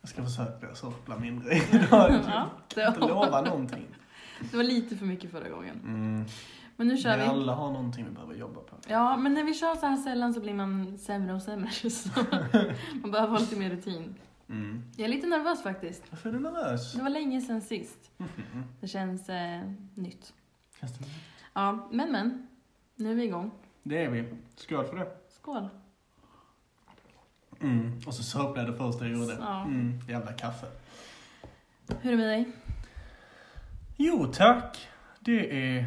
Jag ska försöka sörpla mindre idag. Ja, Jag kan inte det, lova någonting. det var lite för mycket förra gången. Mm. Men nu kör Vi vi. alla har någonting vi behöver jobba på. Ja, men när vi kör så här sällan så blir man sämre och sämre. Så man behöver ha lite mer rutin. Mm. Jag är lite nervös faktiskt. Varför är du nervös? Det var länge sedan sist. Mhm. Det känns eh, nytt. Känns det bra? Ja, men men. Nu är vi igång. Det är vi. Skål för det. Skål. Mm. Och så sörplade jag det första jag gjorde. Ja. Mm. Jävla kaffe. Hur är det med dig? Jo tack. Det är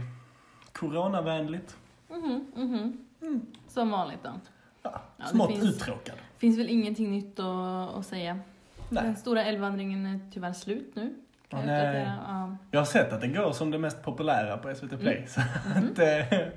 coronavänligt. Mhm, mhm. Mm. Som vanligt då. Ja, Ja, det smått finns- uttråkad. Finns väl ingenting nytt att, att säga. Den Nej. stora älvvandringen är tyvärr slut nu. Kan Åh, jag nej. uppdatera. Ja. Jag har sett att det går som det mest populära på SVT Play. Så Mhm. att, eh,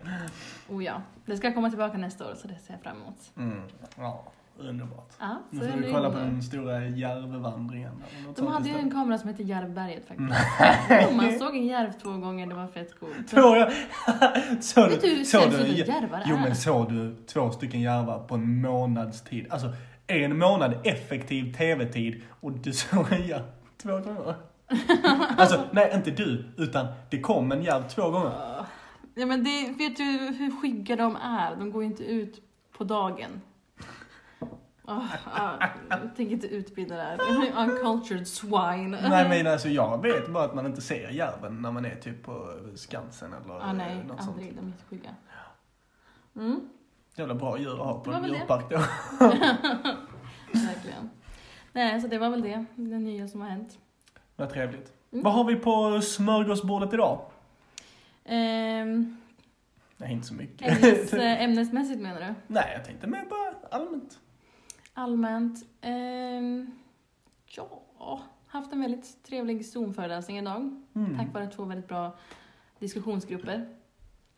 Oh ja. Det ska komma tillbaka nästa år så det ser jag fram emot. mm. Ja, underbart. Ja, så Nu får är vi det kolla på igång då. den stora Järvevandringen. eller något De sånt hade ju en istället. kamera som hette Järvberget faktiskt. Nej. Jo, man såg en järv två gånger, det var fett coolt. Tror jag. såg Vet du hur du, såg du, sällsynta järvar jo är? men såg du två stycken järvar på en månads tid? Alltså en månad effektiv tv-tid och du såg en järv två gånger. Alltså nej inte du, utan det kom en järv två gånger. Ah. Ja men det, vet du hur skygga de är? De går ju inte ut på dagen. Oh, jag tänker inte utbilda det här. Uncultured swine. Nej men alltså jag vet bara att man inte ser järven när man är typ på Skansen eller eh, ah, nej, något sånt. aldrig. De är inte skygga. Mm, Jävla bra djur att ha Det på var en väl det. djurpark då. verkligen. Nej, så det var väl det. Det nya som har hänt. Vad trevligt. Mm. Vad har vi på smörgåsbordet idag? Ehm, Nej inte så mycket. ämnes, eh, ämnesmässigt menar du? Nej, jag tänkte mer bara allmänt. Allmänt? ehm, ja, haft en väldigt trevlig Zoom-föreläsning idag. Mm. Tack vare två väldigt bra diskussionsgrupper.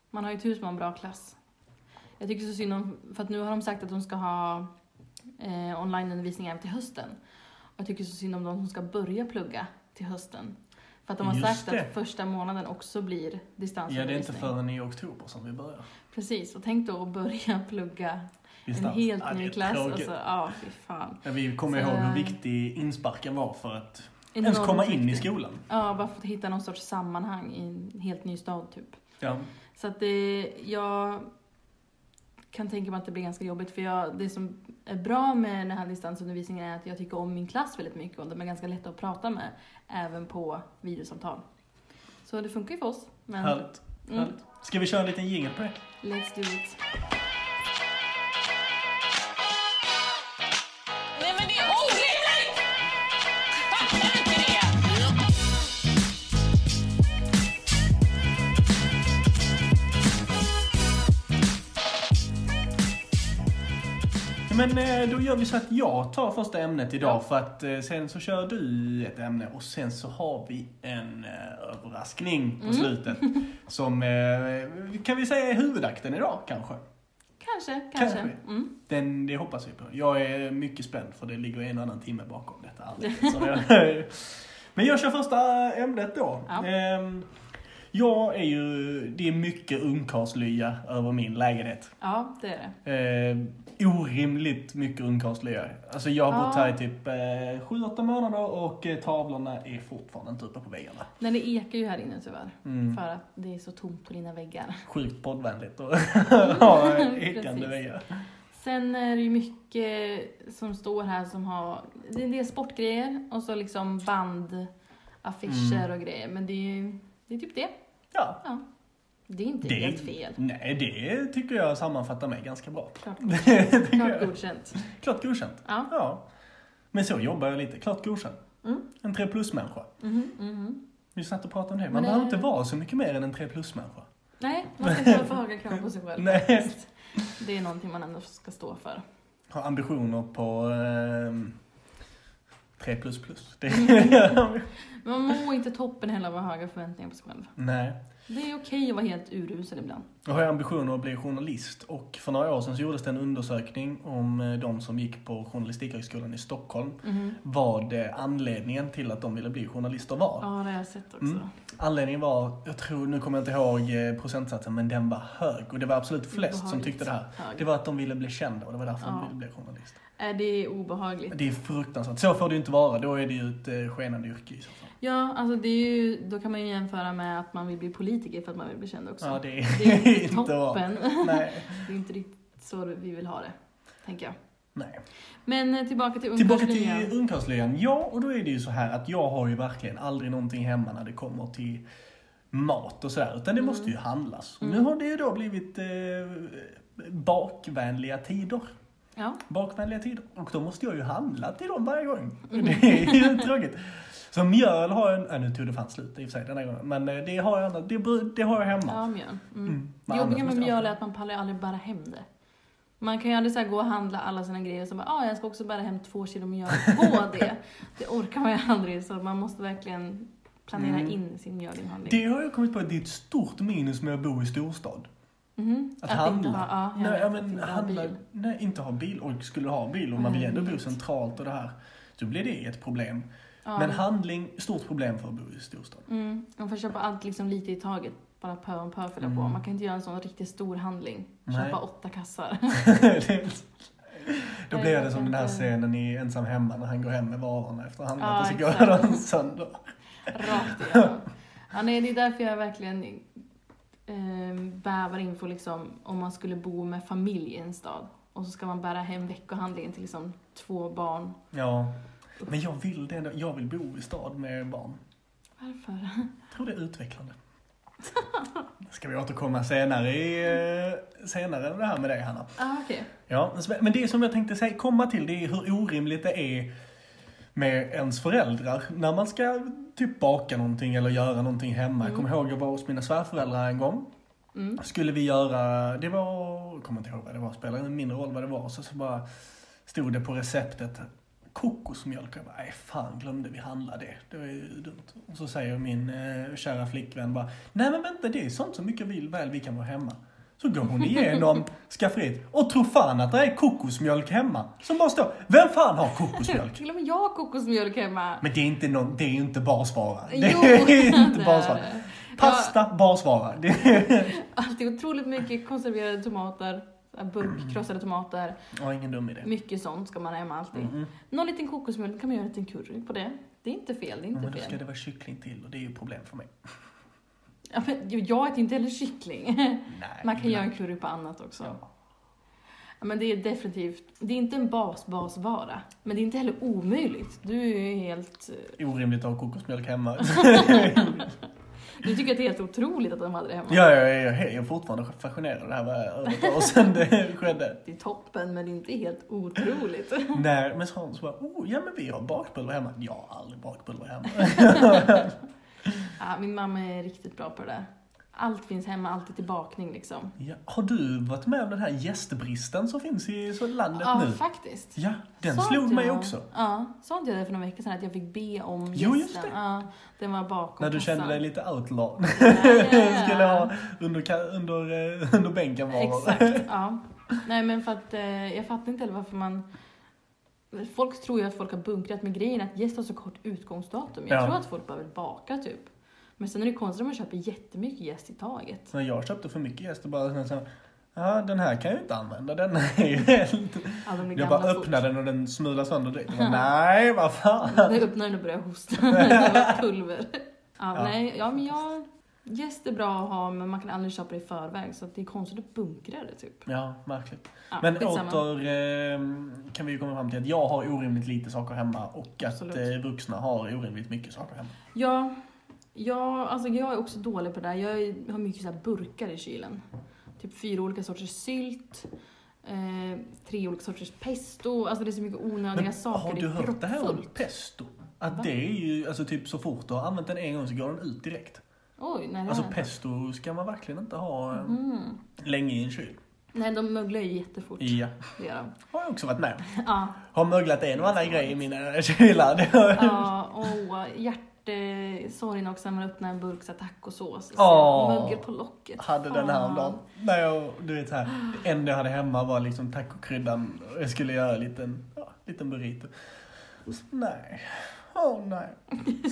Man har ju tur som har en bra klass. Jag tycker så synd om, för att nu har de sagt att de ska ha eh, onlineundervisning även till hösten. Och jag tycker så synd om de som ska börja plugga till hösten. För att de har Just sagt det. att första månaden också blir Ja, det är distansundervisning. inte förrän i oktober som vi börjar. Precis, och tänk då att börja plugga Distans. en helt Ja, det är ny klass. Och tråkigt. så, ja, fy fan. Ja, vi kommer Så- eh, ihåg hur viktig insparken var för att ens Enormt komma in i viktigt. skolan. Ja, bara för att hitta någon sorts sammanhang i en helt ny stad typ. Ja. Så att det, jag kan tänka mig att det blir ganska jobbigt för jag, det som är bra med den här distansundervisningen är att jag tycker om min klass väldigt mycket och de är ganska lätta att prata med även på videosamtal. Så det funkar ju för oss. Men, Härligt. Mm, härligt. Ska vi köra en liten jingel på det? let's do it. Nej men det är orimligt! Fattar du inte det? Men eh, då gör vi så att jag tar första ämnet idag Ja. för att eh, sen så kör du ett ämne och sen så har vi en eh, överraskning på Mm. slutet. Som eh, kan vi säga är huvudakten idag kanske. Kanske, kanske. Kanske. Mm. Den, det hoppas vi på. Jag är mycket spänd för det ligger en annan timme bakom detta arbete. Så jag, men jag kör första ämnet då. Ja. Ehm, Jag är ju, det är mycket ungkarlslya över min lägenhet. Ja, det är det. Ehm, orimligt mycket ungkarlslya. Alltså jag har bott Ja. här i typ eh, 7-8 månader och eh, tavlorna är fortfarande inte uppe på väggarna. Nej, det ekar ju här inne tyvärr. Mm. För att det är så tomt på dina väggar. Sjukt poddvänligt att ha Precis. ekande väggar. Sen är det ju mycket som står här som har, det är en del sportgrejer och så liksom bandaffischer Mm. och grejer. Men det är ju, det är typ det. Ja, Ja. Det är inte Det- helt fel. Nej, det tycker jag sammanfattar mig ganska bra. Klart, Det tycker klart jag. godkänt. Klart godkänt. Ja. Ja. Men så jobbar jag lite. Klart godkänt. Mm. En 3 plus-människa. Mhm, mhm. Vi satt och pratade om det. Man Men, behöver eh, inte vara så mycket mer än en 3 plus-människa. Nej, man ska inte ha för höga krav på sig själv. Nej. faktiskt. Det är någonting man ändå ska stå för. Ha ambitioner på ehm, 3 plus plus. Det Men man mår inte toppen heller av att ha höga förväntningar på sig själv. Nej. Det är okej att vara helt urusel ibland. Jag har ju ambitioner att bli journalist och för några år sedan så gjordes det en undersökning om eh, de som gick på Journalistikhögskolan i Stockholm. Mhm. Vad eh, anledningen till att de ville bli journalister var. Ja, det har jag sett också. Mm. Anledningen var, jag tror, nu kommer jag inte ihåg eh, procentsatsen, men den var hög. Och det var absolut flest som Obehagligt tyckte det här. hög. Det var att de ville bli kända och det var därför de Ja. ville bli journalist. Äh, det är obehagligt. Det är fruktansvärt. Så får det ju inte vara, då är det ju ett eh, skenande yrke i så fall. Ja, alltså det är ju, då kan man ju jämföra med att man vill bli politiker för att man vill bli känd också. Ja, det Det är ju är inte inte bra. toppen. Nej. Det är inte riktigt så vi vill ha det, tänker jag. Nej. Men eh, tillbaka till Tillbaka ungkarlslyan. till ungkarlslyan. Ja, och då är det ju så här att jag har ju verkligen aldrig någonting hemma när det kommer till mat och sådär, utan det måste ju handlas. Mm. Nu har det ju då blivit eh, bakvänliga tider. Ja. bakvänliga tider. Och då måste jag ju handla till dem varje gång. Mm. Det är ju tråkigt. Så mjöl har jag, äh, nu tog det fan slut i och för sig den här gången, men eh, det har jag, annat- det, bru- det har jag hemma. ja, mjöl. Mm. Mm. Det Men annars jobbiga med måste jag- mjöl är att man pallar ju aldrig bära hem det. Man kan ju aldrig så här gå och handla alla sina grejer och så bara, ah, jag ska också bära hem två kilo mjöl på det. Det orkar man ju aldrig, så man måste verkligen planera Mm. in sin mjölinhandling. Det har jag kommit på, att det är ett stort minus med att bo i storstad. Mhm. Att, Inte handla. ha, ja, nej, jag vet, ja, att men inte ha handla, bil. nej, inte ha bil. Och skulle ha bil, och man Nej, vill ändå jag bo vet. centralt och det här, så blir det ett problem. Ja. Men handling, stort problem för att bo i storstad. Mm, man får köpa allt liksom lite i taget. Bara pö om pö fylla på. Mm. Man kan inte göra en sån riktigt stor handling. Nej. Köpa åtta kassar. Då Nej, blir jag det som vet den här inte. scenen i Ensam hemma när han går hem med varorna efter handlat eh. Ja, och så exakt. går han sönder. Rakt igenom. Ja, nej, det är därför jag verkligen eh, bävar inför liksom, om man skulle bo med familj i en stad. Och så ska man bära hem veckohandlingen till liksom, två barn. Ja. Men jag vill det ändå. Jag vill bo i stad med barn. Varför? Jag tror det är utvecklande. Det Ska vi återkomma senare, i, eh, senare det här med dig Hanna. Ah, okej. Ja, men det som jag tänkte säga, komma till det är hur orimligt det är med ens föräldrar när man ska typ baka någonting eller göra någonting hemma. Jag kommer ihåg jag var hos mina svärföräldrar en gång. Mm. Skulle vi göra, det var, jag kommer inte ihåg vad det var, spelar en mindre roll vad det var. Så, så bara stod det på receptet kokosmjölk. Jag bara, nej fan glömde vi handla det. Det var ju dumt. Och så säger min eh, kära flickvän bara, nej men vänta det är sånt som mycket vill väl vi kan vara hemma. Så går hon igenom skafferiet och tror fan att det är kokosmjölk hemma. Som bara står, vem fan har kokosmjölk? Till och med jag har kokosmjölk hemma. Men det är inte någon, det är ju inte basvara. Det Jo, är det inte är basvara. det. Pasta, basvara. Det är... Alltid otroligt mycket konserverade tomater. så här Burk, krossade tomater. Jag har ingen dum idé. Mycket sånt ska man ha hemma alltid. Mm. Någon liten kokosmjölk kan man göra en liten curry på det. Det är inte fel, det Ja, är inte men då ska fel. det vara kyckling till och det är ju problem för mig. Ja, men ju- jag äter inte heller kyckling. Nej, Man kan ibland. göra en curry på annat också. Ja. Ja, Men det är definitivt, det är inte en bas-basvara. Men det är inte heller omöjligt. Du är ju helt, eh, Orimligt att ha kokosmjölk hemma. du tycker att det är helt otroligt att de hade det hemma. ja, ja, ja, ja, hej, jag är fortfarande fascinerad. av Det här var över ett år sedan det skedde. Det är toppen, men det är inte helt otroligt. Nej, men så har hon så bara, oh, ja men vi har bakpulver hemma. Jag har aldrig bakpulver hemma. Ja, min mamma är riktigt bra på det där. Allt finns hemma, allt är till bakning liksom. Ja, har du varit med om den här gästbristen som finns i så landet Ja, nu? faktiskt. Ja, den Sa slog inte mig jag- också. Ja, sa inte jag det för några veckor sedan att jag fick be om Jo, just gästen? det. Ja, den var bakom När du kassan. kände dig lite outlaw. Ja. Skulle ha under, ka- under, eh, under bänken var Exakt, ja. Nej men för att eh, jag fattar inte heller varför man... Folk tror ju att folk har bunkrat med grejen att gäst har så kort utgångsdatum. Jag Ja. tror att folk bara vill baka typ. Men sen är det konstigt om man köper jättemycket gäst i taget. Så när jag köpte för mycket gäst och bara så här, ja den här kan jag ju inte använda, den är ju helt... Alla de Mm. Jag blir gamla bara fort. öppnade den och den smulade sönder direkt. Jag bara, Nej, vad fan. När jag öppnade den och började hosta. det var pulver. Ja, Nej, ja men jag... Gäst är bra att ha men man kan aldrig köpa det i förväg så att det är konstigt att bunkra det typ. Ja, märkligt. Ja, Men skitsamma. åter eh, kan vi ju komma fram till att jag har orimligt lite saker hemma och att Absolut. eh, vuxna har orimligt mycket saker hemma. Ja, ja alltså jag är också dålig på det där. Jag är- har mycket så här burkar i kylen. Typ fyra olika sorters sylt, eh, tre olika sorters pesto. Alltså det är så mycket onödiga saker. har Det du är hört det här om proppfullt. pesto? Att Va? det är ju, alltså typ så fort du har använt den en gång så går den ut direkt. Oj, nej det Alltså har jag inte. pesto ska man verkligen inte ha eh, Mm. länge i en kyl. Nej, de möglar ju jättefort. Ja, Det gör de. har jag också varit med om. Ja, Har möglat en och annan grej i mina kylar. eh, Det har- ja, åh, hjärt, bort eh, sorgen också när man öppnar en burk så här tacosås och Åh. oh. mögel på locket. Hade den här om dagen. Fan. Nej, jag, du vet så här, det enda jag hade hemma var liksom tacokryddan och jag skulle göra en liten, ja, liten burrito. Så, nej, åh oh, nej.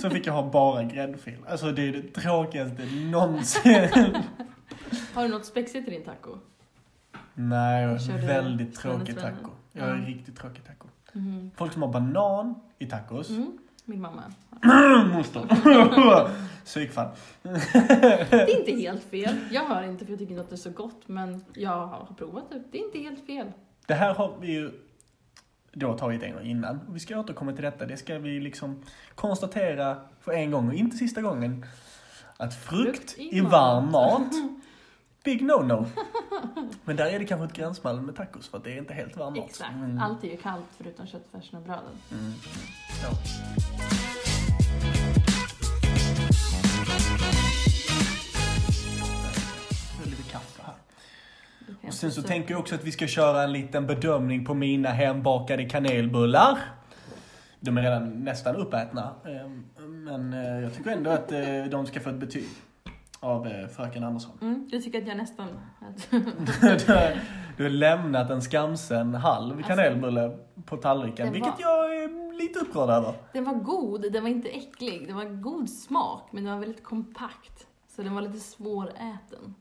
Så fick jag ha bara gräddfil. Alltså det är det tråkigaste någonsin. Har du något spexigt i din taco? nej, jag Kör du är väldigt Svenne, tråkig Svenne? taco. Jag är en Ja. riktigt tråkig taco. Mhm. Folk som har banan i tacos. Mm. Min mamma. Moster. Psykfall. Det är inte helt fel. Jag har inte för jag tycker inte att det är så gott men jag har provat det. Det är inte helt fel. Det här har vi ju då tagit en gång innan. Och vi ska återkomma till detta. Det ska vi liksom konstatera för en gång och inte sista gången. Att frukt, Frukt i i varm mat, big no-no. Men där är det kanske ett gränsfall med tacos för att det är inte helt varm mat. Exakt. Mm. Allt är ju kallt förutom köttfärsen och bröden. Mm. Ja. Nu är det lite kaffe här. Det kan jag Och sen så också- tänker jag också att vi ska köra en liten bedömning på mina hembakade kanelbullar. De är redan nästan uppätna. eh, Men eh, jag tycker ändå att eh, de ska få ett betyg av eh, fröken Andersson. Mm, du tycker att jag nästan... Att... Du har- Du har lämnat en skamsen halv Alltså, kanelbulle på tallriken, den vilket var- jag är lite upprörd över. Den var god, den var inte äcklig. Den var god smak, men den var väldigt kompakt. Så den var lite svåräten.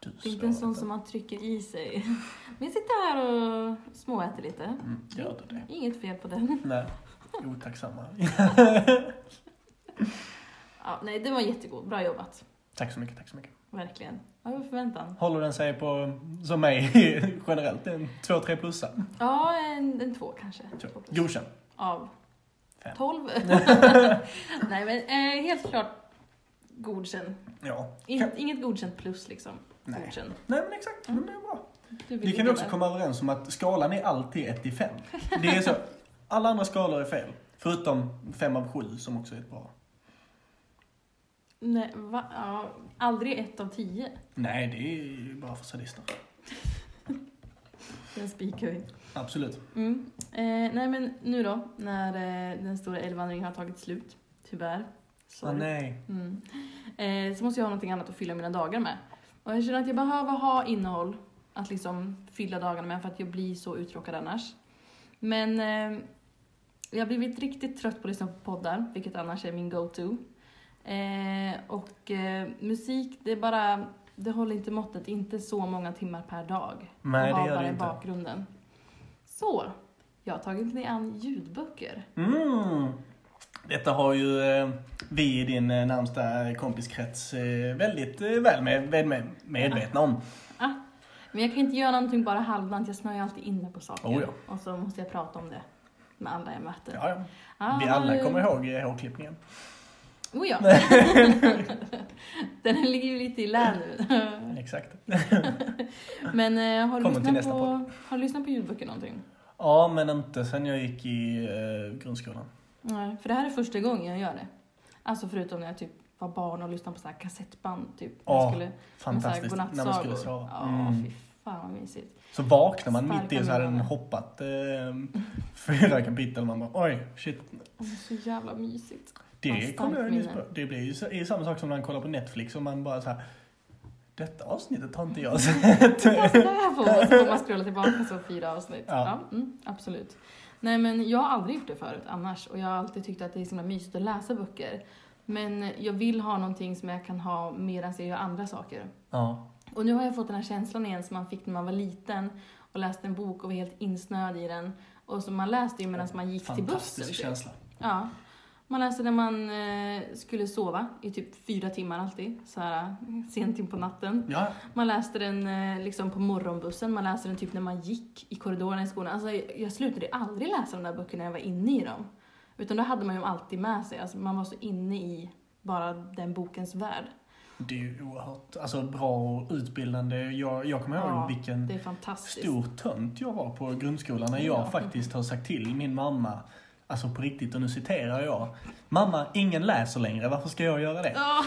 Du Det är inte slår en sån inte. som man trycker i sig. Men jag sitter här och småäter lite. Mm, gör du det? Inget fel på den. Nej, otacksamma. Ja, nej, den var jättegod. Bra jobbat. Tack så mycket, tack så mycket. Verkligen. Över förväntan. Håller den sig på, som mig, generellt, en 2-3 plussa? Ja, en, en två kanske. Två plus. Godkänd. Av Fem. tolv. nej, men eh, helt klart godkänd. Ja. In, inget godkänt plus liksom. Nej. Godkänd. Nej men exakt, men det är bra. Du vill Ni kan ligga ju också där. komma överens om att skalan är alltid 1 till 5. Det är så, alla andra skalor är fel. Förutom 5 av 7 som också är ett bra. Nej, va? Ja, aldrig ett av tio. Nej, det är ju bara för sadister. Den spikhöjd. Absolut. Mm. Eh, nej men nu då, när eh, den stora älgvandringen har tagit slut, tyvärr. Ah, Sorry. nej. Mm. Eh, så måste jag ha någonting annat att fylla mina dagar med. Och jag känner att jag behöver ha innehåll att liksom fylla dagarna med för att jag blir så uttråkad annars. Men eh, jag har blivit riktigt trött på att lyssna på poddar, vilket annars är min go-to. Eh, och eh, musik, det är bara, det håller inte måttet, inte så många timmar per dag. Nej, Och det ha gör bara det i inte. bakgrunden. Så, jag har tagit mig an ljudböcker. Mm. Detta har ju eh, vi i din eh, närmsta kompiskrets eh, väldigt eh, väl med, med, med, medvetna om. Men jag kan inte göra någonting bara halvdant, jag snöar ju alltid inne på saker. Oh ja. Och så måste jag prata om det med alla jag möter. Ja, ja. Ah, Vi vad har alla du- kommer ihåg eh, hårklippningen. Oh ja. Den ligger ju lite i lä nu. Exakt. Men eh, har, Kommer du till lyssnat nästa på, podd. har du lyssnat på ljudböcker någonting? Ja, men inte sen jag gick i eh, grundskolan. Nej, för det här är första gången jag gör det. Alltså förutom när jag typ var barn och lyssnade på så här kassettband typ. När jag Ja, skulle, med så här Fantastiskt, när man godnattsagor. skulle sova. Ja, Mm. fy fan vad mysigt. Så vaknar man mitt i Sparkar och så hade den munnen. hoppat eh, fyra kapitel. Man bara oj, shit. Och så jävla mysigt. Vad Det starkt kommer jag nyss på. minne. Det blir ju så, är samma sak som när man kollar på Netflix och man bara så här. Detta avsnittet har inte jag sett. Titta, så där får man, så får man scrolla tillbaka så fyra avsnitt. Ja. Ja. mm, absolut. Nej men jag har aldrig gjort det förut annars och jag har alltid tyckt att det är så himla mysigt att läsa böcker. Men jag vill ha någonting som jag kan ha medan jag gör andra saker. ja. Och nu har jag fått den här känslan igen som man fick när man var liten och läste en bok och var helt insnöad i den. Och som man läste ju medan man gick till bussen. Fantastisk typ. känsla. Ja. Man läste när man eh, skulle sova i typ fyra timmar alltid, så här eh, sent in på natten. Ja, Man läste den eh, liksom på morgonbussen, man läste den typ när man gick i korridorerna i skolan. Alltså, jag jag slutade aldrig läsa de där böckerna när jag var inne i dem. Utan då hade man ju dem alltid med sig. Alltså, man var så inne i bara den bokens värld. det är ju oerhört alltså, bra och utbildande. Jag, jag kommer ihåg Ja, vilken Det är fantastiskt. stor tönt jag var på grundskolan när jag Ja. faktiskt har sagt till min mamma, alltså på riktigt, och nu citerar jag. Mamma, ingen läser längre, varför ska jag göra det? Ja,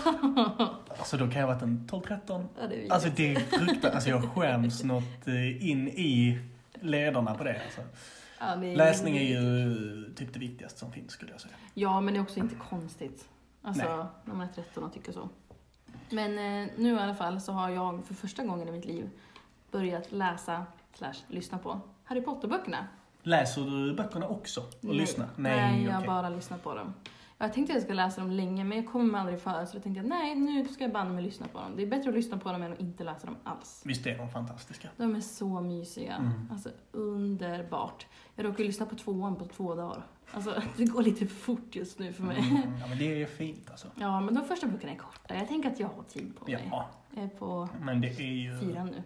Alltså då kan jag ha varit en 12-13. det är vidrigt. Alltså det är fruktansvärt. Alltså jag skäms något eh, in i lederna på det. Alltså. Ja, det Läsning är ju typ det viktigaste som finns skulle jag säga. Ja, men det är också inte konstigt. Alltså Nej. när man är 13 och tycker så. Men eh, nu i alla fall så har jag för första gången i mitt liv börjat läsa slash lyssna på Harry Potter-böckerna. Läser du böckerna också? Och lyssnar? Nej, nej jag okej. bara lyssnar på dem. Jag tänkte att jag skulle läsa dem länge men jag kommer mig aldrig för så då tänkte jag nej nu ska jag banne mig lyssna på dem. Det är bättre att lyssna på dem än att inte läsa dem alls. Visst är de fantastiska? De är så mysiga. Mm. Alltså underbart. Jag råkar ju lyssna på tvåan på två dagar. Alltså det går lite för fort just nu för mig. Mm, ja, men det är fint alltså. Ja, men de första böckerna är korta. Jag tänker att jag har tid på mig. Ja, Jag är på men det är ju... fyran nu.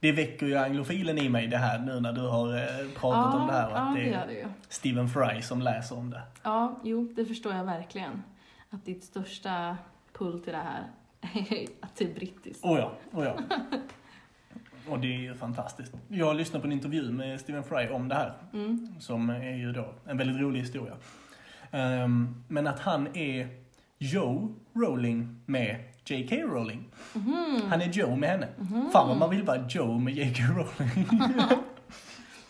Det väcker ju anglofilen i mig det här nu när du har eh, pratat om det här. och ja, Att det det gör är det ju. Stephen Fry som läser om det. Ja, jo, det förstår jag verkligen. Att ditt största pull till det här är att det är brittiskt. Oh ja, oh ja. Och det är ju fantastiskt. Jag lyssnade på en intervju med Stephen Fry om det här. Mm. Som är ju då en väldigt rolig historia. Ehm, men att han är Joe Rowling med J.K. Rowling. Mm. Mm-hmm. Han är Joe med henne. Fan vad man vill vara Joe med J.K. Rowling.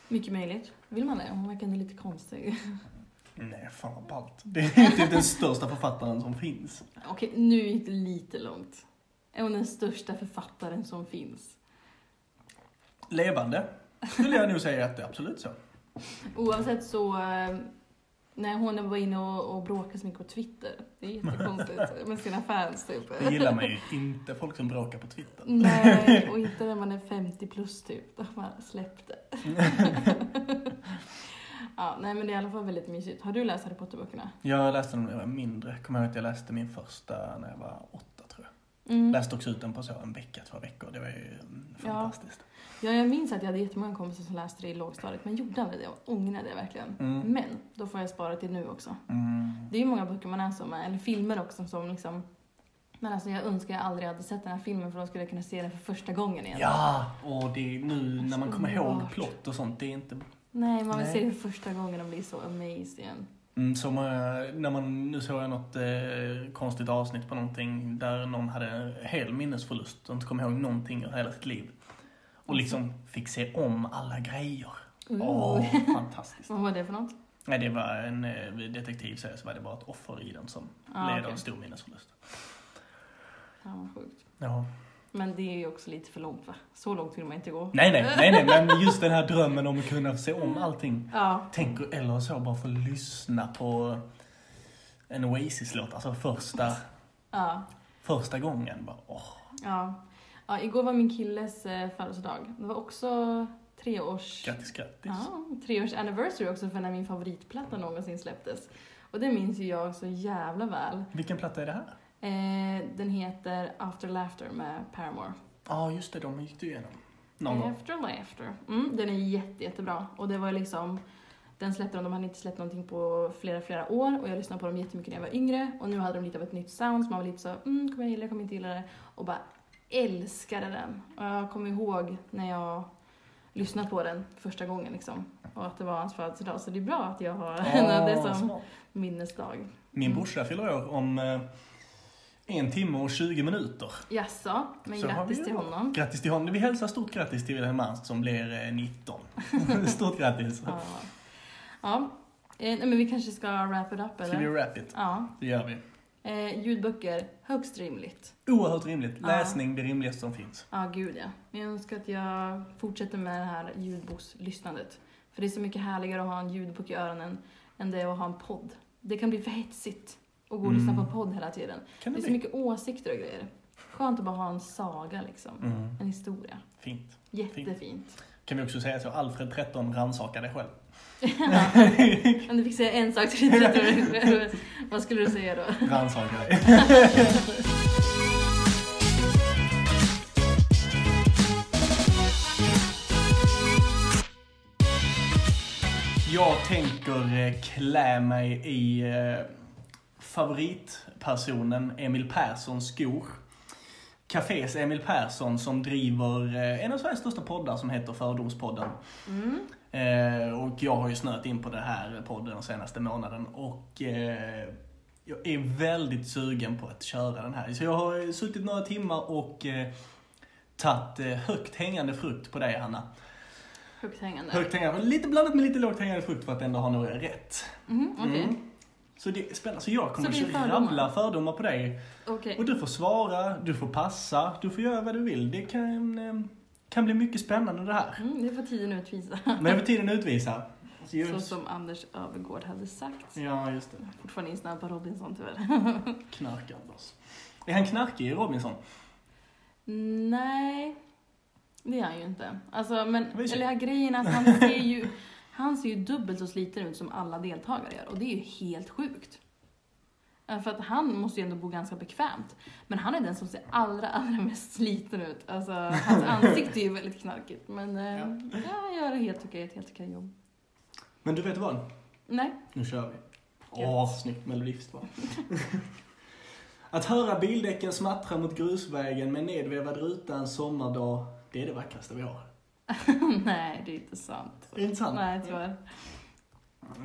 Mycket möjligt. Vill man det? Hon verkar ändå lite konstig. Nej, fan vad ballt. Det är typ den största författaren som finns. Okej, nu gick det lite långt. Är hon den största författaren som finns? Levande skulle jag nog säga att det är absolut så. Oavsett så... eh, Nej, hon var inne och, och bråkade så mycket på Twitter. Det är jättekonstigt. Med sina fans, typ. Det gillar man ju inte, folk som bråkar på Twitter. Nej, och inte när man är 50 plus typ. Då har man släppt det. ja, nej men det är i alla fall väldigt mysigt. Har du läst Harry Potter-böckerna? Jag läste dem när jag var mindre. Kommer ihåg att jag läste min första när jag var åtta tror jag. Mm. Läste också ut den på så en vecka, två veckor. Det var ju mm, Ja. fantastiskt. Ja, jag minns att jag hade jättemånga kompisar som läste det i lågstadiet, men gjorde aldrig det och ångrade det verkligen. Mm. Men, då får jag spara till nu också. Mm. Det är ju många böcker man läser om, eller filmer också som liksom men alltså jag önskar jag aldrig hade sett den här filmen för då skulle jag kunna se den för första gången igen. Ja, och det är nu när man Så kommer ihåg underbart. plott och sånt, det är inte Nej, man vill Nej. se den för första gången och bli så amazed igen. Mm, som eh, när man, nu såg jag något eh, konstigt avsnitt på någonting där någon hade hel minnesförlust och inte kom ihåg någonting ur hela sitt liv. Mm. Och liksom fick se om alla grejer. Åh, fantastiskt. Vad var det för något? Nej, det var en eh, detektivserie så var det bara ett offer i den som Ah, led av okej. en stor minnesförlust. Fan vad sjukt. Ja. Men det är ju också lite för långt va? Så långt vill man inte gå. Nej, nej, nej, nej, men just den här drömmen om att kunna se om allting. Ja. Tänk, eller så, bara få lyssna på en Oasis-låt, alltså första, Ja. första gången. Bara, åh. ja. ja igår var min killes eh, födelsedag. Det var också treårs... Grattis, grattis. Ja, treårs anniversary också för när min favoritplatta någonsin släpptes. Och det minns ju jag så jävla väl. Vilken platta är det här? Eh, den heter After Laughter med Paramore. Ja, just det, de gick du igenom. Någon gång. After Laughter. Mm, den är jätte, jättebra. Och det var liksom, den släppte de, de hade inte släppt någonting på flera, flera år och jag lyssnade på dem jättemycket när jag var yngre och nu hade de lite av ett nytt sound så man var lite så, mm, kommer jag gilla det, kommer jag inte gilla det? Och bara älskade den. Och jag kommer ihåg när jag lyssnade på den första gången liksom och att det var hans födelsedag så det är bra att jag har Ah, det som smart. minnesdag. Min brorsa fyller år om eh, en timme och 20 minuter. Jaså, men Så har vi grattis ju- till honom. Grattis till honom. Vi hälsar stort grattis till Wilhelm Ernst som blir eh, 19. stort grattis. Ja. ja. Eh, nej, men vi kanske ska wrap it up eller? Ska vi wrap it? Ja. Det gör vi. Eh, ljudböcker, högst rimligt. Oerhört rimligt. Ja. Läsning, det rimligaste som finns. Ja, gud ja. Men jag önskar att jag fortsätter med det här ljudbokslyssnandet. För det är så mycket härligare att ha en ljudbok i öronen än det är att ha en podd. Det kan bli för hetsigt att gå och lyssna på Mm. en podd hela tiden. Kan Det det är så bli? mycket åsikter och grejer. Skönt att bara ha en saga liksom. Mm. En historia. Fint. Jättefint. Kan vi också säga så, Alfred 13 rannsaka dig själv. Om du fick säga en sak till ditt vad skulle du säga då? Rannsaka dig. Jag tänker eh, klä mig i eh, favoritpersonen Emil Perssons skor. Cafés Emil Persson som driver eh, en av Sveriges största poddar som heter Fördomspodden. Mm. Eh, och jag har ju snöat in på det här podden den senaste månaden och eh, jag är väldigt sugen på att köra den här. Så jag har suttit några timmar och eh, tagit eh, högt hängande frukt på dig Hanna. Högt hängande. Högt hängande, lite blandat med lite lågt hängande frukt för att ändå ha några rätt. Mhm, okej. Mm. Så, det, är spännande. så jag kommer Så det är att fördomar. rabbla fördomar på dig. Okej. Och du får svara, du får passa, du får göra vad du vill. Det kan, eh, kan bli mycket spännande det här. Mm, det får tiden utvisa. Men över tiden utvisar. Så som Anders Övergård hade sagt. Ja, just det. Fortfarande snabb på Robinson tyvärr. Knark-Anders. alltså. Är han knarkig, Robinson? Nej, det är han ju inte. Alltså, men, Men så- eller ja, grejen är att han ser ju, han ser ju dubbelt så sliten ut som alla deltagare gör och det är ju helt sjukt. Eh, För att han måste ju ändå bo ganska bekvämt. Men han är den som ser allra, allra mest sliten ut. Alltså, hans ansikte är ju väldigt knarkigt. Men eh, Ja. ja, han gör ett helt okej, ett helt okej jobb. Men du vet vad? Nej, Nu kör vi. Gött. Åh, snyggt melodifest va? Att höra bildäcken smattra mot grusvägen med nedvevad ruta en sommardag, det är det vackraste vi har. nej det är inte sant. Är det inte sant? Nej, tyvärr.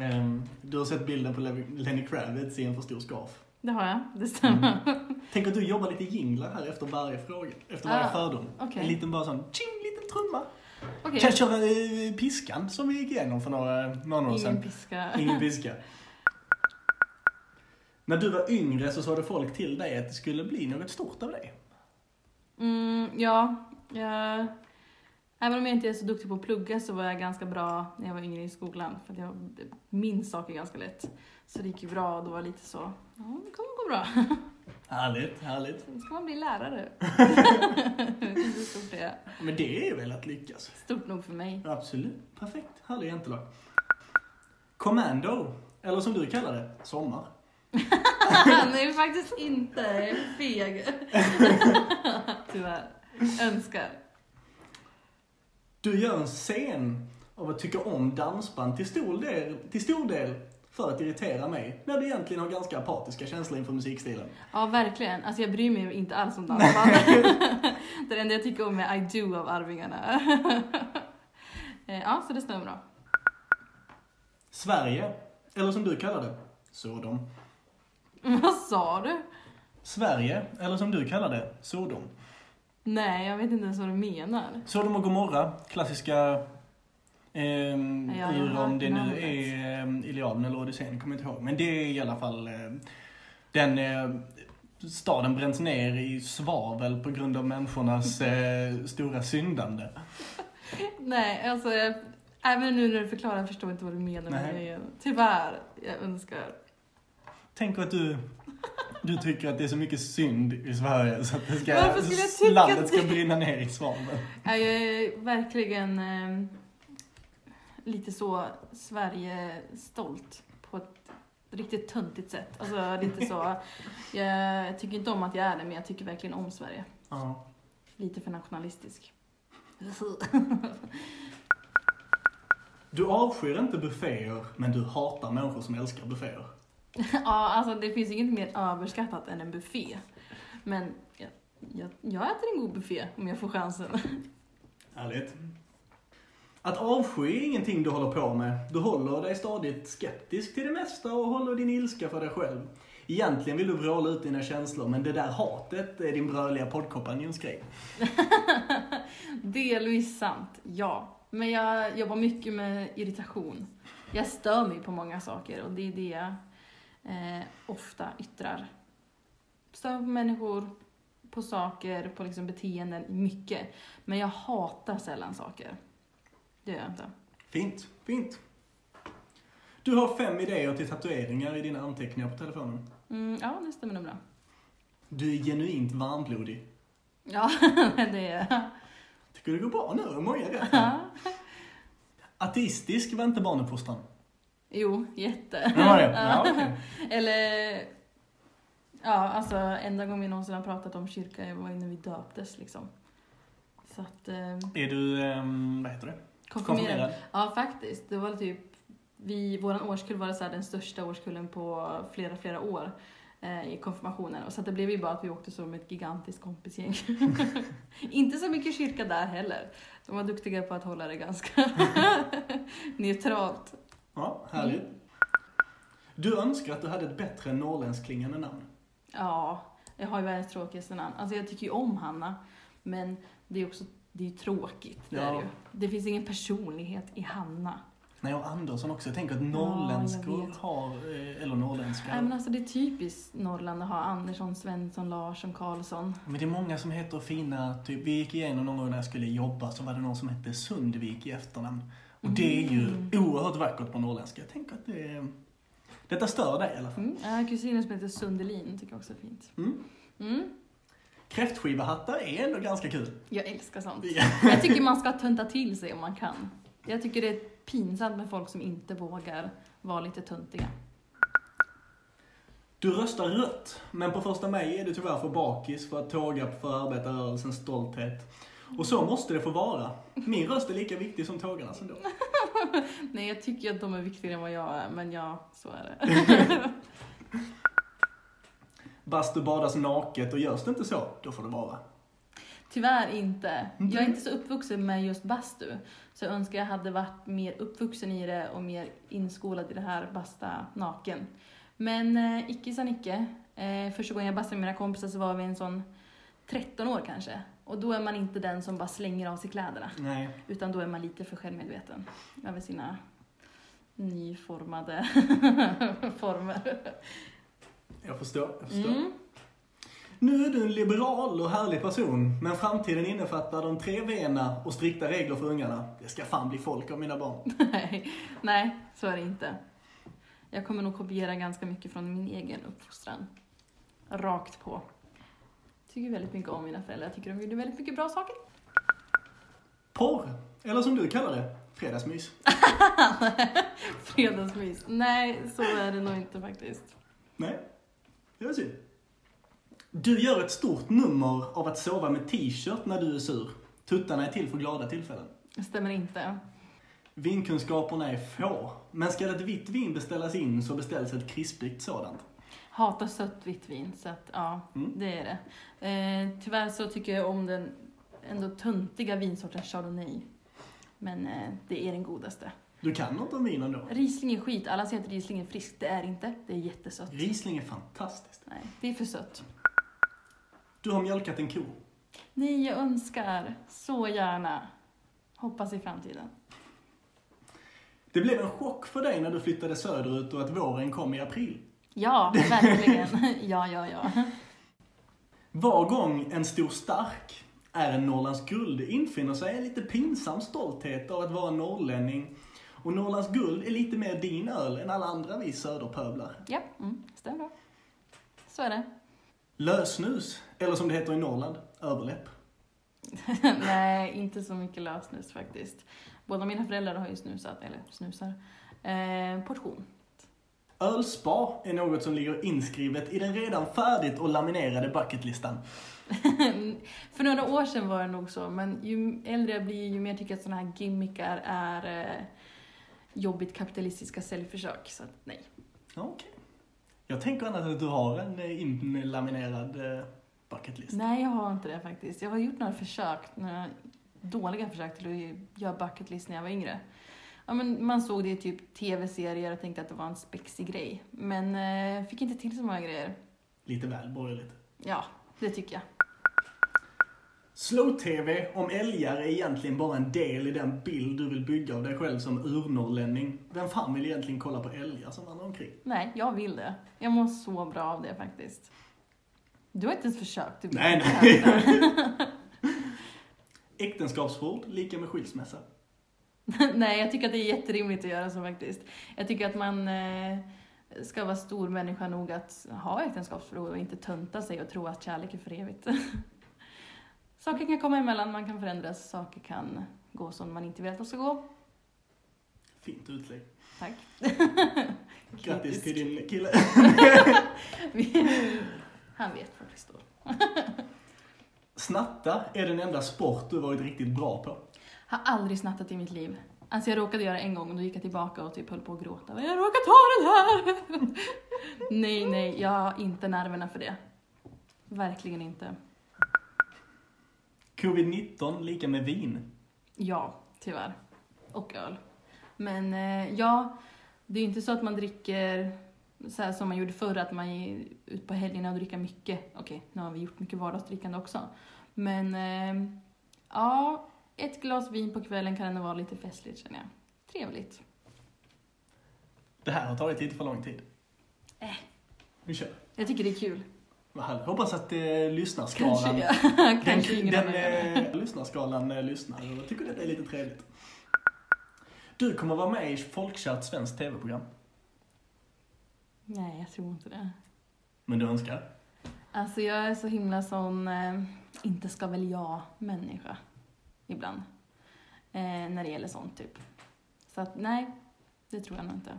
Ehm, du har sett bilden på Lev- Lenny Kravitz i en för stor scarf. Det har jag, Mm. det stämmer. Tänk att du jobbar lite jinglar här efter varje fråga, efter varje Ah, fördom. okej. En liten bara sån, tjing, liten trumma. Okej, Kan jag köra eh, piskan som vi gick igenom för några månader sedan? ingen piska. Ingen piska. När du var yngre så sa det folk till dig att det skulle bli något stort av dig. Mm, ja, jag... Även om jag inte är så duktig på att plugga så var jag ganska bra när jag var yngre i skolan. För att jag minns saker ganska lätt. Så det gick ju bra och då var jag lite så, ja det kommer gå bra. Härligt, härligt. Sen ska man bli lärare. Hur stort det är. Men det är väl att lyckas? Stort nog för mig. Absolut. Perfekt. Härlig jantelag. Commando, eller som du kallar det, sommar. Nej faktiskt inte, jag är feg. Tyvärr. Önskar. Du gör en scen av att tycka om dansband till stor del, till stor del för att irritera mig, när du egentligen har ganska apatiska känslor inför musikstilen. Ja verkligen, alltså jag bryr mig ju inte alls om dansband. det enda jag tycker om är I do av Arvingarna. Eh, ja, så det stämmer bra. Sverige, eller som du kallar det, Sodom. Vad sa du? Sverige, eller som du kallar det, Sodom. Nej, jag vet inte ens vad du menar. Sodom och Gomorra, klassiska ehm, Ja, jag har ur om hört det nu namnet. är ehm, Iliaden eller Odysseen, kommer jag inte ihåg. Men det är i alla fall ehm, den eh, staden bränns ner i svavel på grund av människornas eh, stora syndande. Nej, alltså jag, även nu när du förklarar jag förstår inte vad du menar med Nej. grejen. Tyvärr, jag önskar. Tänk att du, du tycker att det är så mycket synd i Sverige så att det ska, Varför skulle jag tycka landet att ska det- brinna ner i svavel. Nej, Jag är verkligen eh, lite så Sverige-stolt på ett riktigt töntigt sätt. Alltså lite så, jag tycker inte om att jag är det men jag tycker verkligen om Sverige. Ja. Lite för nationalistisk. Du avskyr inte bufféer, men du hatar människor som älskar bufféer. Ja, alltså det finns inget mer överskattat än en buffé. Men jag, jag, jag äter en god buffé om jag får chansen. Härligt. Att avsky är ingenting du håller på med. Du håller dig stadigt skeptisk till det mesta och håller din ilska för dig själv. Egentligen vill du vråla ut dina känslor, men det där hatet är din bröliga poddkompanjons grej. Delvis sant, ja. Men jag jobbar mycket med irritation. Jag stör mig på många saker och det är det jag eh, ofta yttrar. Stör mig på människor, på saker, på liksom beteenden, mycket. Men jag hatar sällan saker. Det gör jag inte. Fint, fint. Du har fem idéer till tatueringar i dina anteckningar på telefonen. Mm, ja, det stämmer nog bra. Du är genuint varmblodig. Ja, det är jag. Tycker det går bra nu? Många rätt. här. Ateistisk var inte barnuppfostran. Jo, jätte. Det var det? Ja, okej. Eller... Ja, alltså enda gången vi någonsin har pratat om kyrka var ju när vi döptes liksom. Så att... Eh, Är du, ehm, vad heter det? konfirmerad. Ja, faktiskt. Det var typ... Vi, våran årskull var så här den största årskullen på flera, flera år eh, i konfirmationen. Och så att det blev ju bara att vi åkte som ett gigantiskt kompisgäng. Inte så mycket kyrka där heller. De var duktiga på att hålla det ganska neutralt. Ja, härligt. Du önskar att du hade ett bättre norrländskklingande namn. Ja, jag har ju världens tråkigaste namn. Alltså jag tycker ju om Hanna, men det är också det är ju tråkigt. Det, Ja. är det, ju. det finns ingen personlighet i Hanna. Nej, och Andersson också. Jag tänker att jag norrländskor vet. har, eh, eller Nej, norrländskar. men alltså det är typiskt Norrland att ha Andersson, Svensson, Larsson, Karlsson. Men det är många som heter fina, typ, vi gick igenom någon gång när jag skulle jobba så var det någon som hette Sundvik i efternamn. Och det är ju oerhört vackert på norrländska. Jag tänker att det är... Detta stör dig i alla fall. Mm. Jag har kusiner som heter Sundelin, tycker jag också är fint. Mm. Mm. Kräftskivahattar är ändå ganska kul. Jag älskar sånt. Ja. Jag tycker man ska tönta till sig om man kan. Jag tycker det är pinsamt med folk som inte vågar vara lite töntiga. Du röstar rött, men på första maj är du tyvärr för bakis för att tåga för arbetarrörelsens stolthet. Och så måste det få vara. Min röst är lika viktig som tågarnas ändå. Nej, jag tycker att de är viktigare än vad jag är, men ja, så är det. Bastu badas naket och görs det inte så, då får det vara. Tyvärr inte. Mhm. Jag är inte så uppvuxen med just bastu. Så jag önskar jag hade varit mer uppvuxen i det och mer inskolad i det här basta naken. Men eh, icke sa Nicke. Eh, första gången jag bastade med mina kompisar så var vi en sån 13 år kanske. Och då är man inte den som bara slänger av sig kläderna. Nej. Utan då är man lite för självmedveten över sina nyformade former. Jag förstår, jag förstår. Mm. Nu är du en liberal och härlig person, men framtiden innefattar de tre vena och strikta regler för ungarna. Det ska fan bli folk av mina barn. Nej, nej, så är det inte. Jag kommer nog kopiera ganska mycket från min egen uppfostran. Rakt på. Tycker väldigt mycket om mina föräldrar. Jag tycker de gjorde väldigt mycket bra saker. Porr, eller som du kallar det, fredagsmys. Fredagsmys. Nej, så är det nog inte faktiskt. Nej, det var synd. Du gör ett stort nummer av att sova med t-shirt när du är sur. Tuttarna är till för glada tillfällen. Det stämmer inte. Vinkunskaperna är få, men ska ett vitt vin beställas in så beställs ett krispigt sådant. Hatar sött vitt vin, så att ja, Mm. det är det. Eh, tyvärr så tycker jag om den ändå töntiga vinsorten Chardonnay. Men eh, det är den godaste. Du kan något om vin ändå. Riesling är skit. Alla säger att Riesling är friskt. Det är det inte. Det är jättesött. Riesling är fantastiskt. Nej, det är för sött. Du har mjölkat en ko. Nej, jag önskar så gärna. Hoppas i framtiden. Det blev en chock för dig när du flyttade söderut och att våren kom i april. Ja, verkligen. Ja, ja, ja. Var gång en stor stark är en Norrlands guld infinner sig en lite pinsam stolthet av att vara norrlänning. Och Norrlands guld är lite mer din öl än alla andra vi söderpöblar. Ja, mm, stämmer bra. Så är det. Lösnus, eller som det heter i Norrland, överläpp. Nej, inte så mycket lösnus faktiskt. Båda mina föräldrar har ju snusat, eller snusar, eh, portion. Ölspa är något som ligger inskrivet i den redan färdigt och laminerade bucketlistan. För några år sedan var det nog så, men ju äldre jag blir ju mer tycker jag att sådana här gimmickar är eh, jobbigt kapitalistiska säljförsök. Så att, nej. Ja, Okej. Jag tänker annars att du har en eh, inlaminerad eh, bucketlist. Nej, jag har inte det faktiskt. Jag har gjort några försök, några dåliga försök till att göra bucket list när jag var yngre. Ja, men man såg det i typ tv-serier och tänkte att det var en spexig grej. Men eh, fick inte till så många grejer. Lite väl borgerligt. Ja, det tycker jag. Slow-tv om älgar är egentligen bara en del i den bild du vill bygga av dig själv som urnorrlänning. Vem fan vill egentligen kolla på älgar som vandrar omkring? Nej, jag vill det. Jag mår så bra av det faktiskt. Du har inte ens försökt. Du Nej, nej. Äktenskapsförord, lika med skilsmässa. Nej, jag tycker att det är jätterimligt att göra så faktiskt. Jag tycker att man eh, ska vara stor människa nog att ha äktenskapsförord och inte tönta sig och tro att kärlek är för evigt. saker kan komma emellan, man kan förändras, saker kan gå som man inte vill att de ska gå. Fint utlägg. Tack. Grattis till din kille. Kritisk. Han vet vad det står. Snatta är den enda sport du varit riktigt bra på. Har aldrig snattat i mitt liv. Alltså jag råkade göra en gång och då gick jag tillbaka och typ höll på att gråta. Jag råkade ta den här! nej, nej, jag har inte nerverna för det. Verkligen inte. Covid-19, lika med vin. Ja, tyvärr. Och öl. Men eh, ja, det är ju inte så att man dricker så här som man gjorde förr, att man är ute på helgerna och dricker mycket. Okej, nu har vi gjort mycket vardagsdrickande också. Men eh, ja, ett glas vin på kvällen kan ändå vara lite festligt känner jag. Trevligt. Det här har tagit lite för lång tid. Äh. Vi kör. Jag tycker det är kul. Vad härligt. Hoppas att eh, lyssnarskalan... Kanske, Den, kanske ingen den annan gör det. eh, lyssnarskalan eh, lyssnar och tycker detta är lite trevligt. Du kommer vara med i folkkärt svenskt tv-program. Nej, jag tror inte det. Men du önskar? Alltså jag är så himla sån, eh, inte ska väl jag-människa ibland. Eh, när det gäller sånt typ. Så att nej, det tror jag nog inte.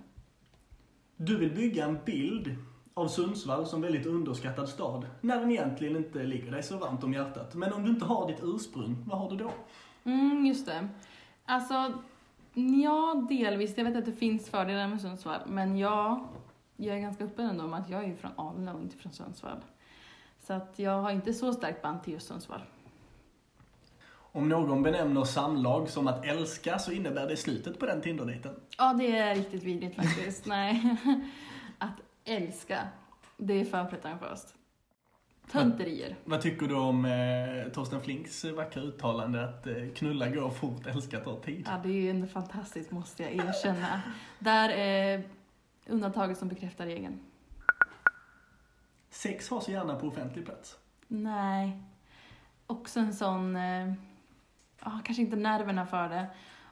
Du vill bygga en bild av Sundsvall som väldigt underskattad stad, när den egentligen inte ligger dig så varmt om hjärtat. Men om du inte har ditt ursprung, vad har du då? Mm, just det. Alltså, ja delvis. Jag vet att det finns fördelar med Sundsvall, men jag, jag är ganska öppen ändå med att jag är ju från Alnö och inte från Sundsvall. Så att jag har inte så starkt band till just Sundsvall. Om någon benämner samlag som att älska så innebär det slutet på den Tinderdejten. Ja, det är riktigt vidrigt faktiskt. Nej. Att älska, det är för pretentiöst. Tönterier. Vad tycker du om eh, Torsten Flinks vackra uttalande att eh, knulla går fort, älska tar tid? Ja, det är ju ändå fantastiskt måste jag erkänna. Där är undantaget som bekräftar regeln. Sex har så gärna på offentlig plats. Nej. Också en sån... Eh, ah, kanske inte nerverna för det.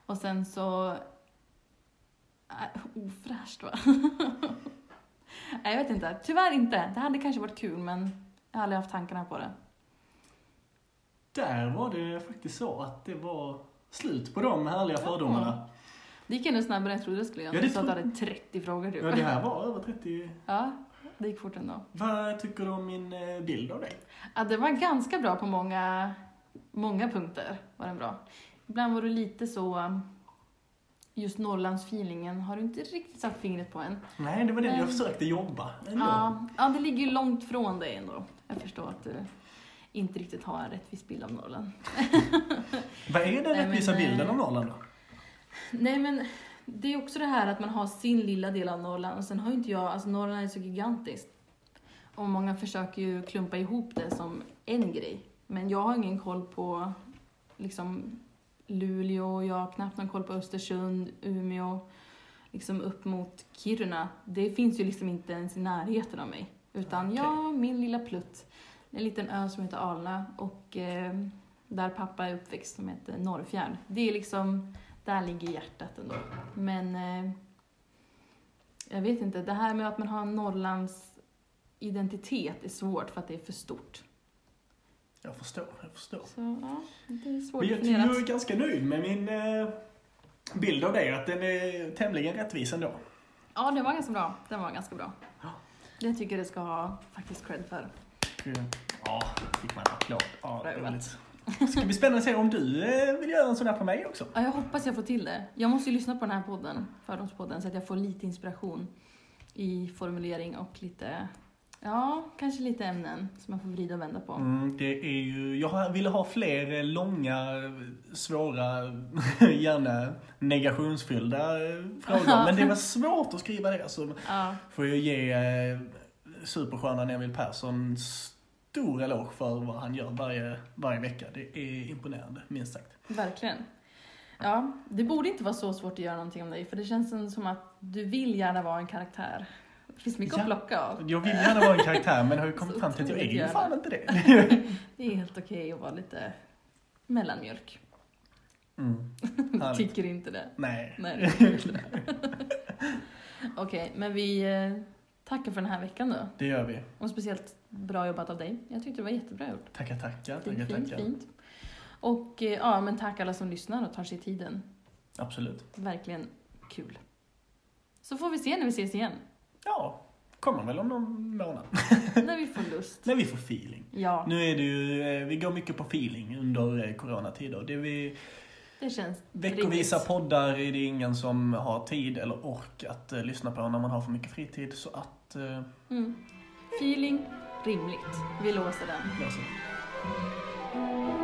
Och sen så... Eh, ofräscht, va? Nej, jag vet inte. Tyvärr inte. Det hade kanske varit kul, men jag har aldrig haft tankarna på det. Där var det faktiskt så att det var slut på de härliga fördomarna. Det gick ändå snabbare än jag trodde det skulle göra. Ja, Ja, det du sa att du tror- hade 30 frågor, typ. Ja, det här var över 30. Ja, det gick fort ändå. Vad tycker du om min eh, bild av dig? Ja, det var ganska bra på många, många punkter. Var den bra. Ibland var du lite så... um, Just Norrlandsfeelingen har du inte riktigt satt fingret på än. Nej, det var den jag Mm. försökte jobba ändå. Ja, ja, det ligger ju långt från dig ändå. Jag förstår att du inte riktigt har en rättvis bild av Norrland. Vad är den Nej, men, rättvisa eh, bilden av Norrland då? Nej, men det är också det här att man har sin lilla del av Norrland och sen har ju inte jag, alltså Norrland är så gigantiskt. Och många försöker ju klumpa ihop det som en grej. Men jag har ingen koll på liksom Luleå, jag har knappt någon koll på Östersund, Umeå, liksom upp mot Kiruna. Det finns ju liksom inte ens i närheten av mig. Utan Okej. jag, min lilla plutt, en liten ö som heter Alna och eh, där pappa är uppväxt som heter Norrfjärd. Det är liksom, där ligger hjärtat ändå. Men eh, jag vet inte, det här med att man har en Norrlands identitet är svårt för att det är för stort. Jag förstår, jag förstår. Så ja, det är svårt Men jag att tycker definiera. jag är ganska nöjd med min eh, bild av dig, att den är tämligen rättvis ändå. Ja, den var ganska bra. Den var ganska bra. Ja. Det tycker jag det ska ha faktiskt cred för. Ja, fick man en applåd. Ja, Bra jobbat. roligt. Ska bli spännande att se om du eh, vill göra en sån här på mig också. Ja, jag hoppas jag får till det. Jag måste ju lyssna på den här podden, Fördomspodden, så att jag får lite inspiration i formulering och lite, ja, kanske lite ämnen som jag får vrida och vända på. Mm, det är ju, jag ville ha fler eh, långa, svåra, gärna negationsfyllda eh, frågor. Men det var svårt att skriva det. Så Ja, får jag ge eh, superstjärnan Emil Persson stor eloge för vad han gör varje, varje vecka. Det är imponerande, minst sagt. verkligen. Ja, det borde inte vara så svårt att göra någonting om dig, för det känns som att du vill gärna vara en karaktär. Det finns mycket Ja. att plocka av. Jag vill gärna vara en karaktär men har ju kommit Så fram till att jag är otroligt ju gärna. fan inte det. Det är helt okej att vara lite mellanmjölk. Mm. Du Härligt. tycker inte det. Nej. Nej, det är inte det. Okej, men vi eh, tackar för den här veckan då. Det gör vi. Och speciellt bra jobbat av dig. Jag tyckte det var jättebra gjort. Tackar, tackar. Tackar, Fint, fint, tackar. fint. Och eh, ja, men tack alla som lyssnar och tar sig tiden. Absolut. Verkligen kul. Så får vi se när vi ses igen. Ja, kommer väl om någon månad. när vi får lust. När vi får feeling. Ja, Nu är det ju, eh, vi går mycket på feeling under eh, coronatider. Det vi, det känns veckovisa rimligt. poddar är det ingen som har tid eller ork att eh, lyssna på när man har för mycket fritid. Så att, eh, Mm. Feeling, rimligt. Vi låser den. löser det. Thank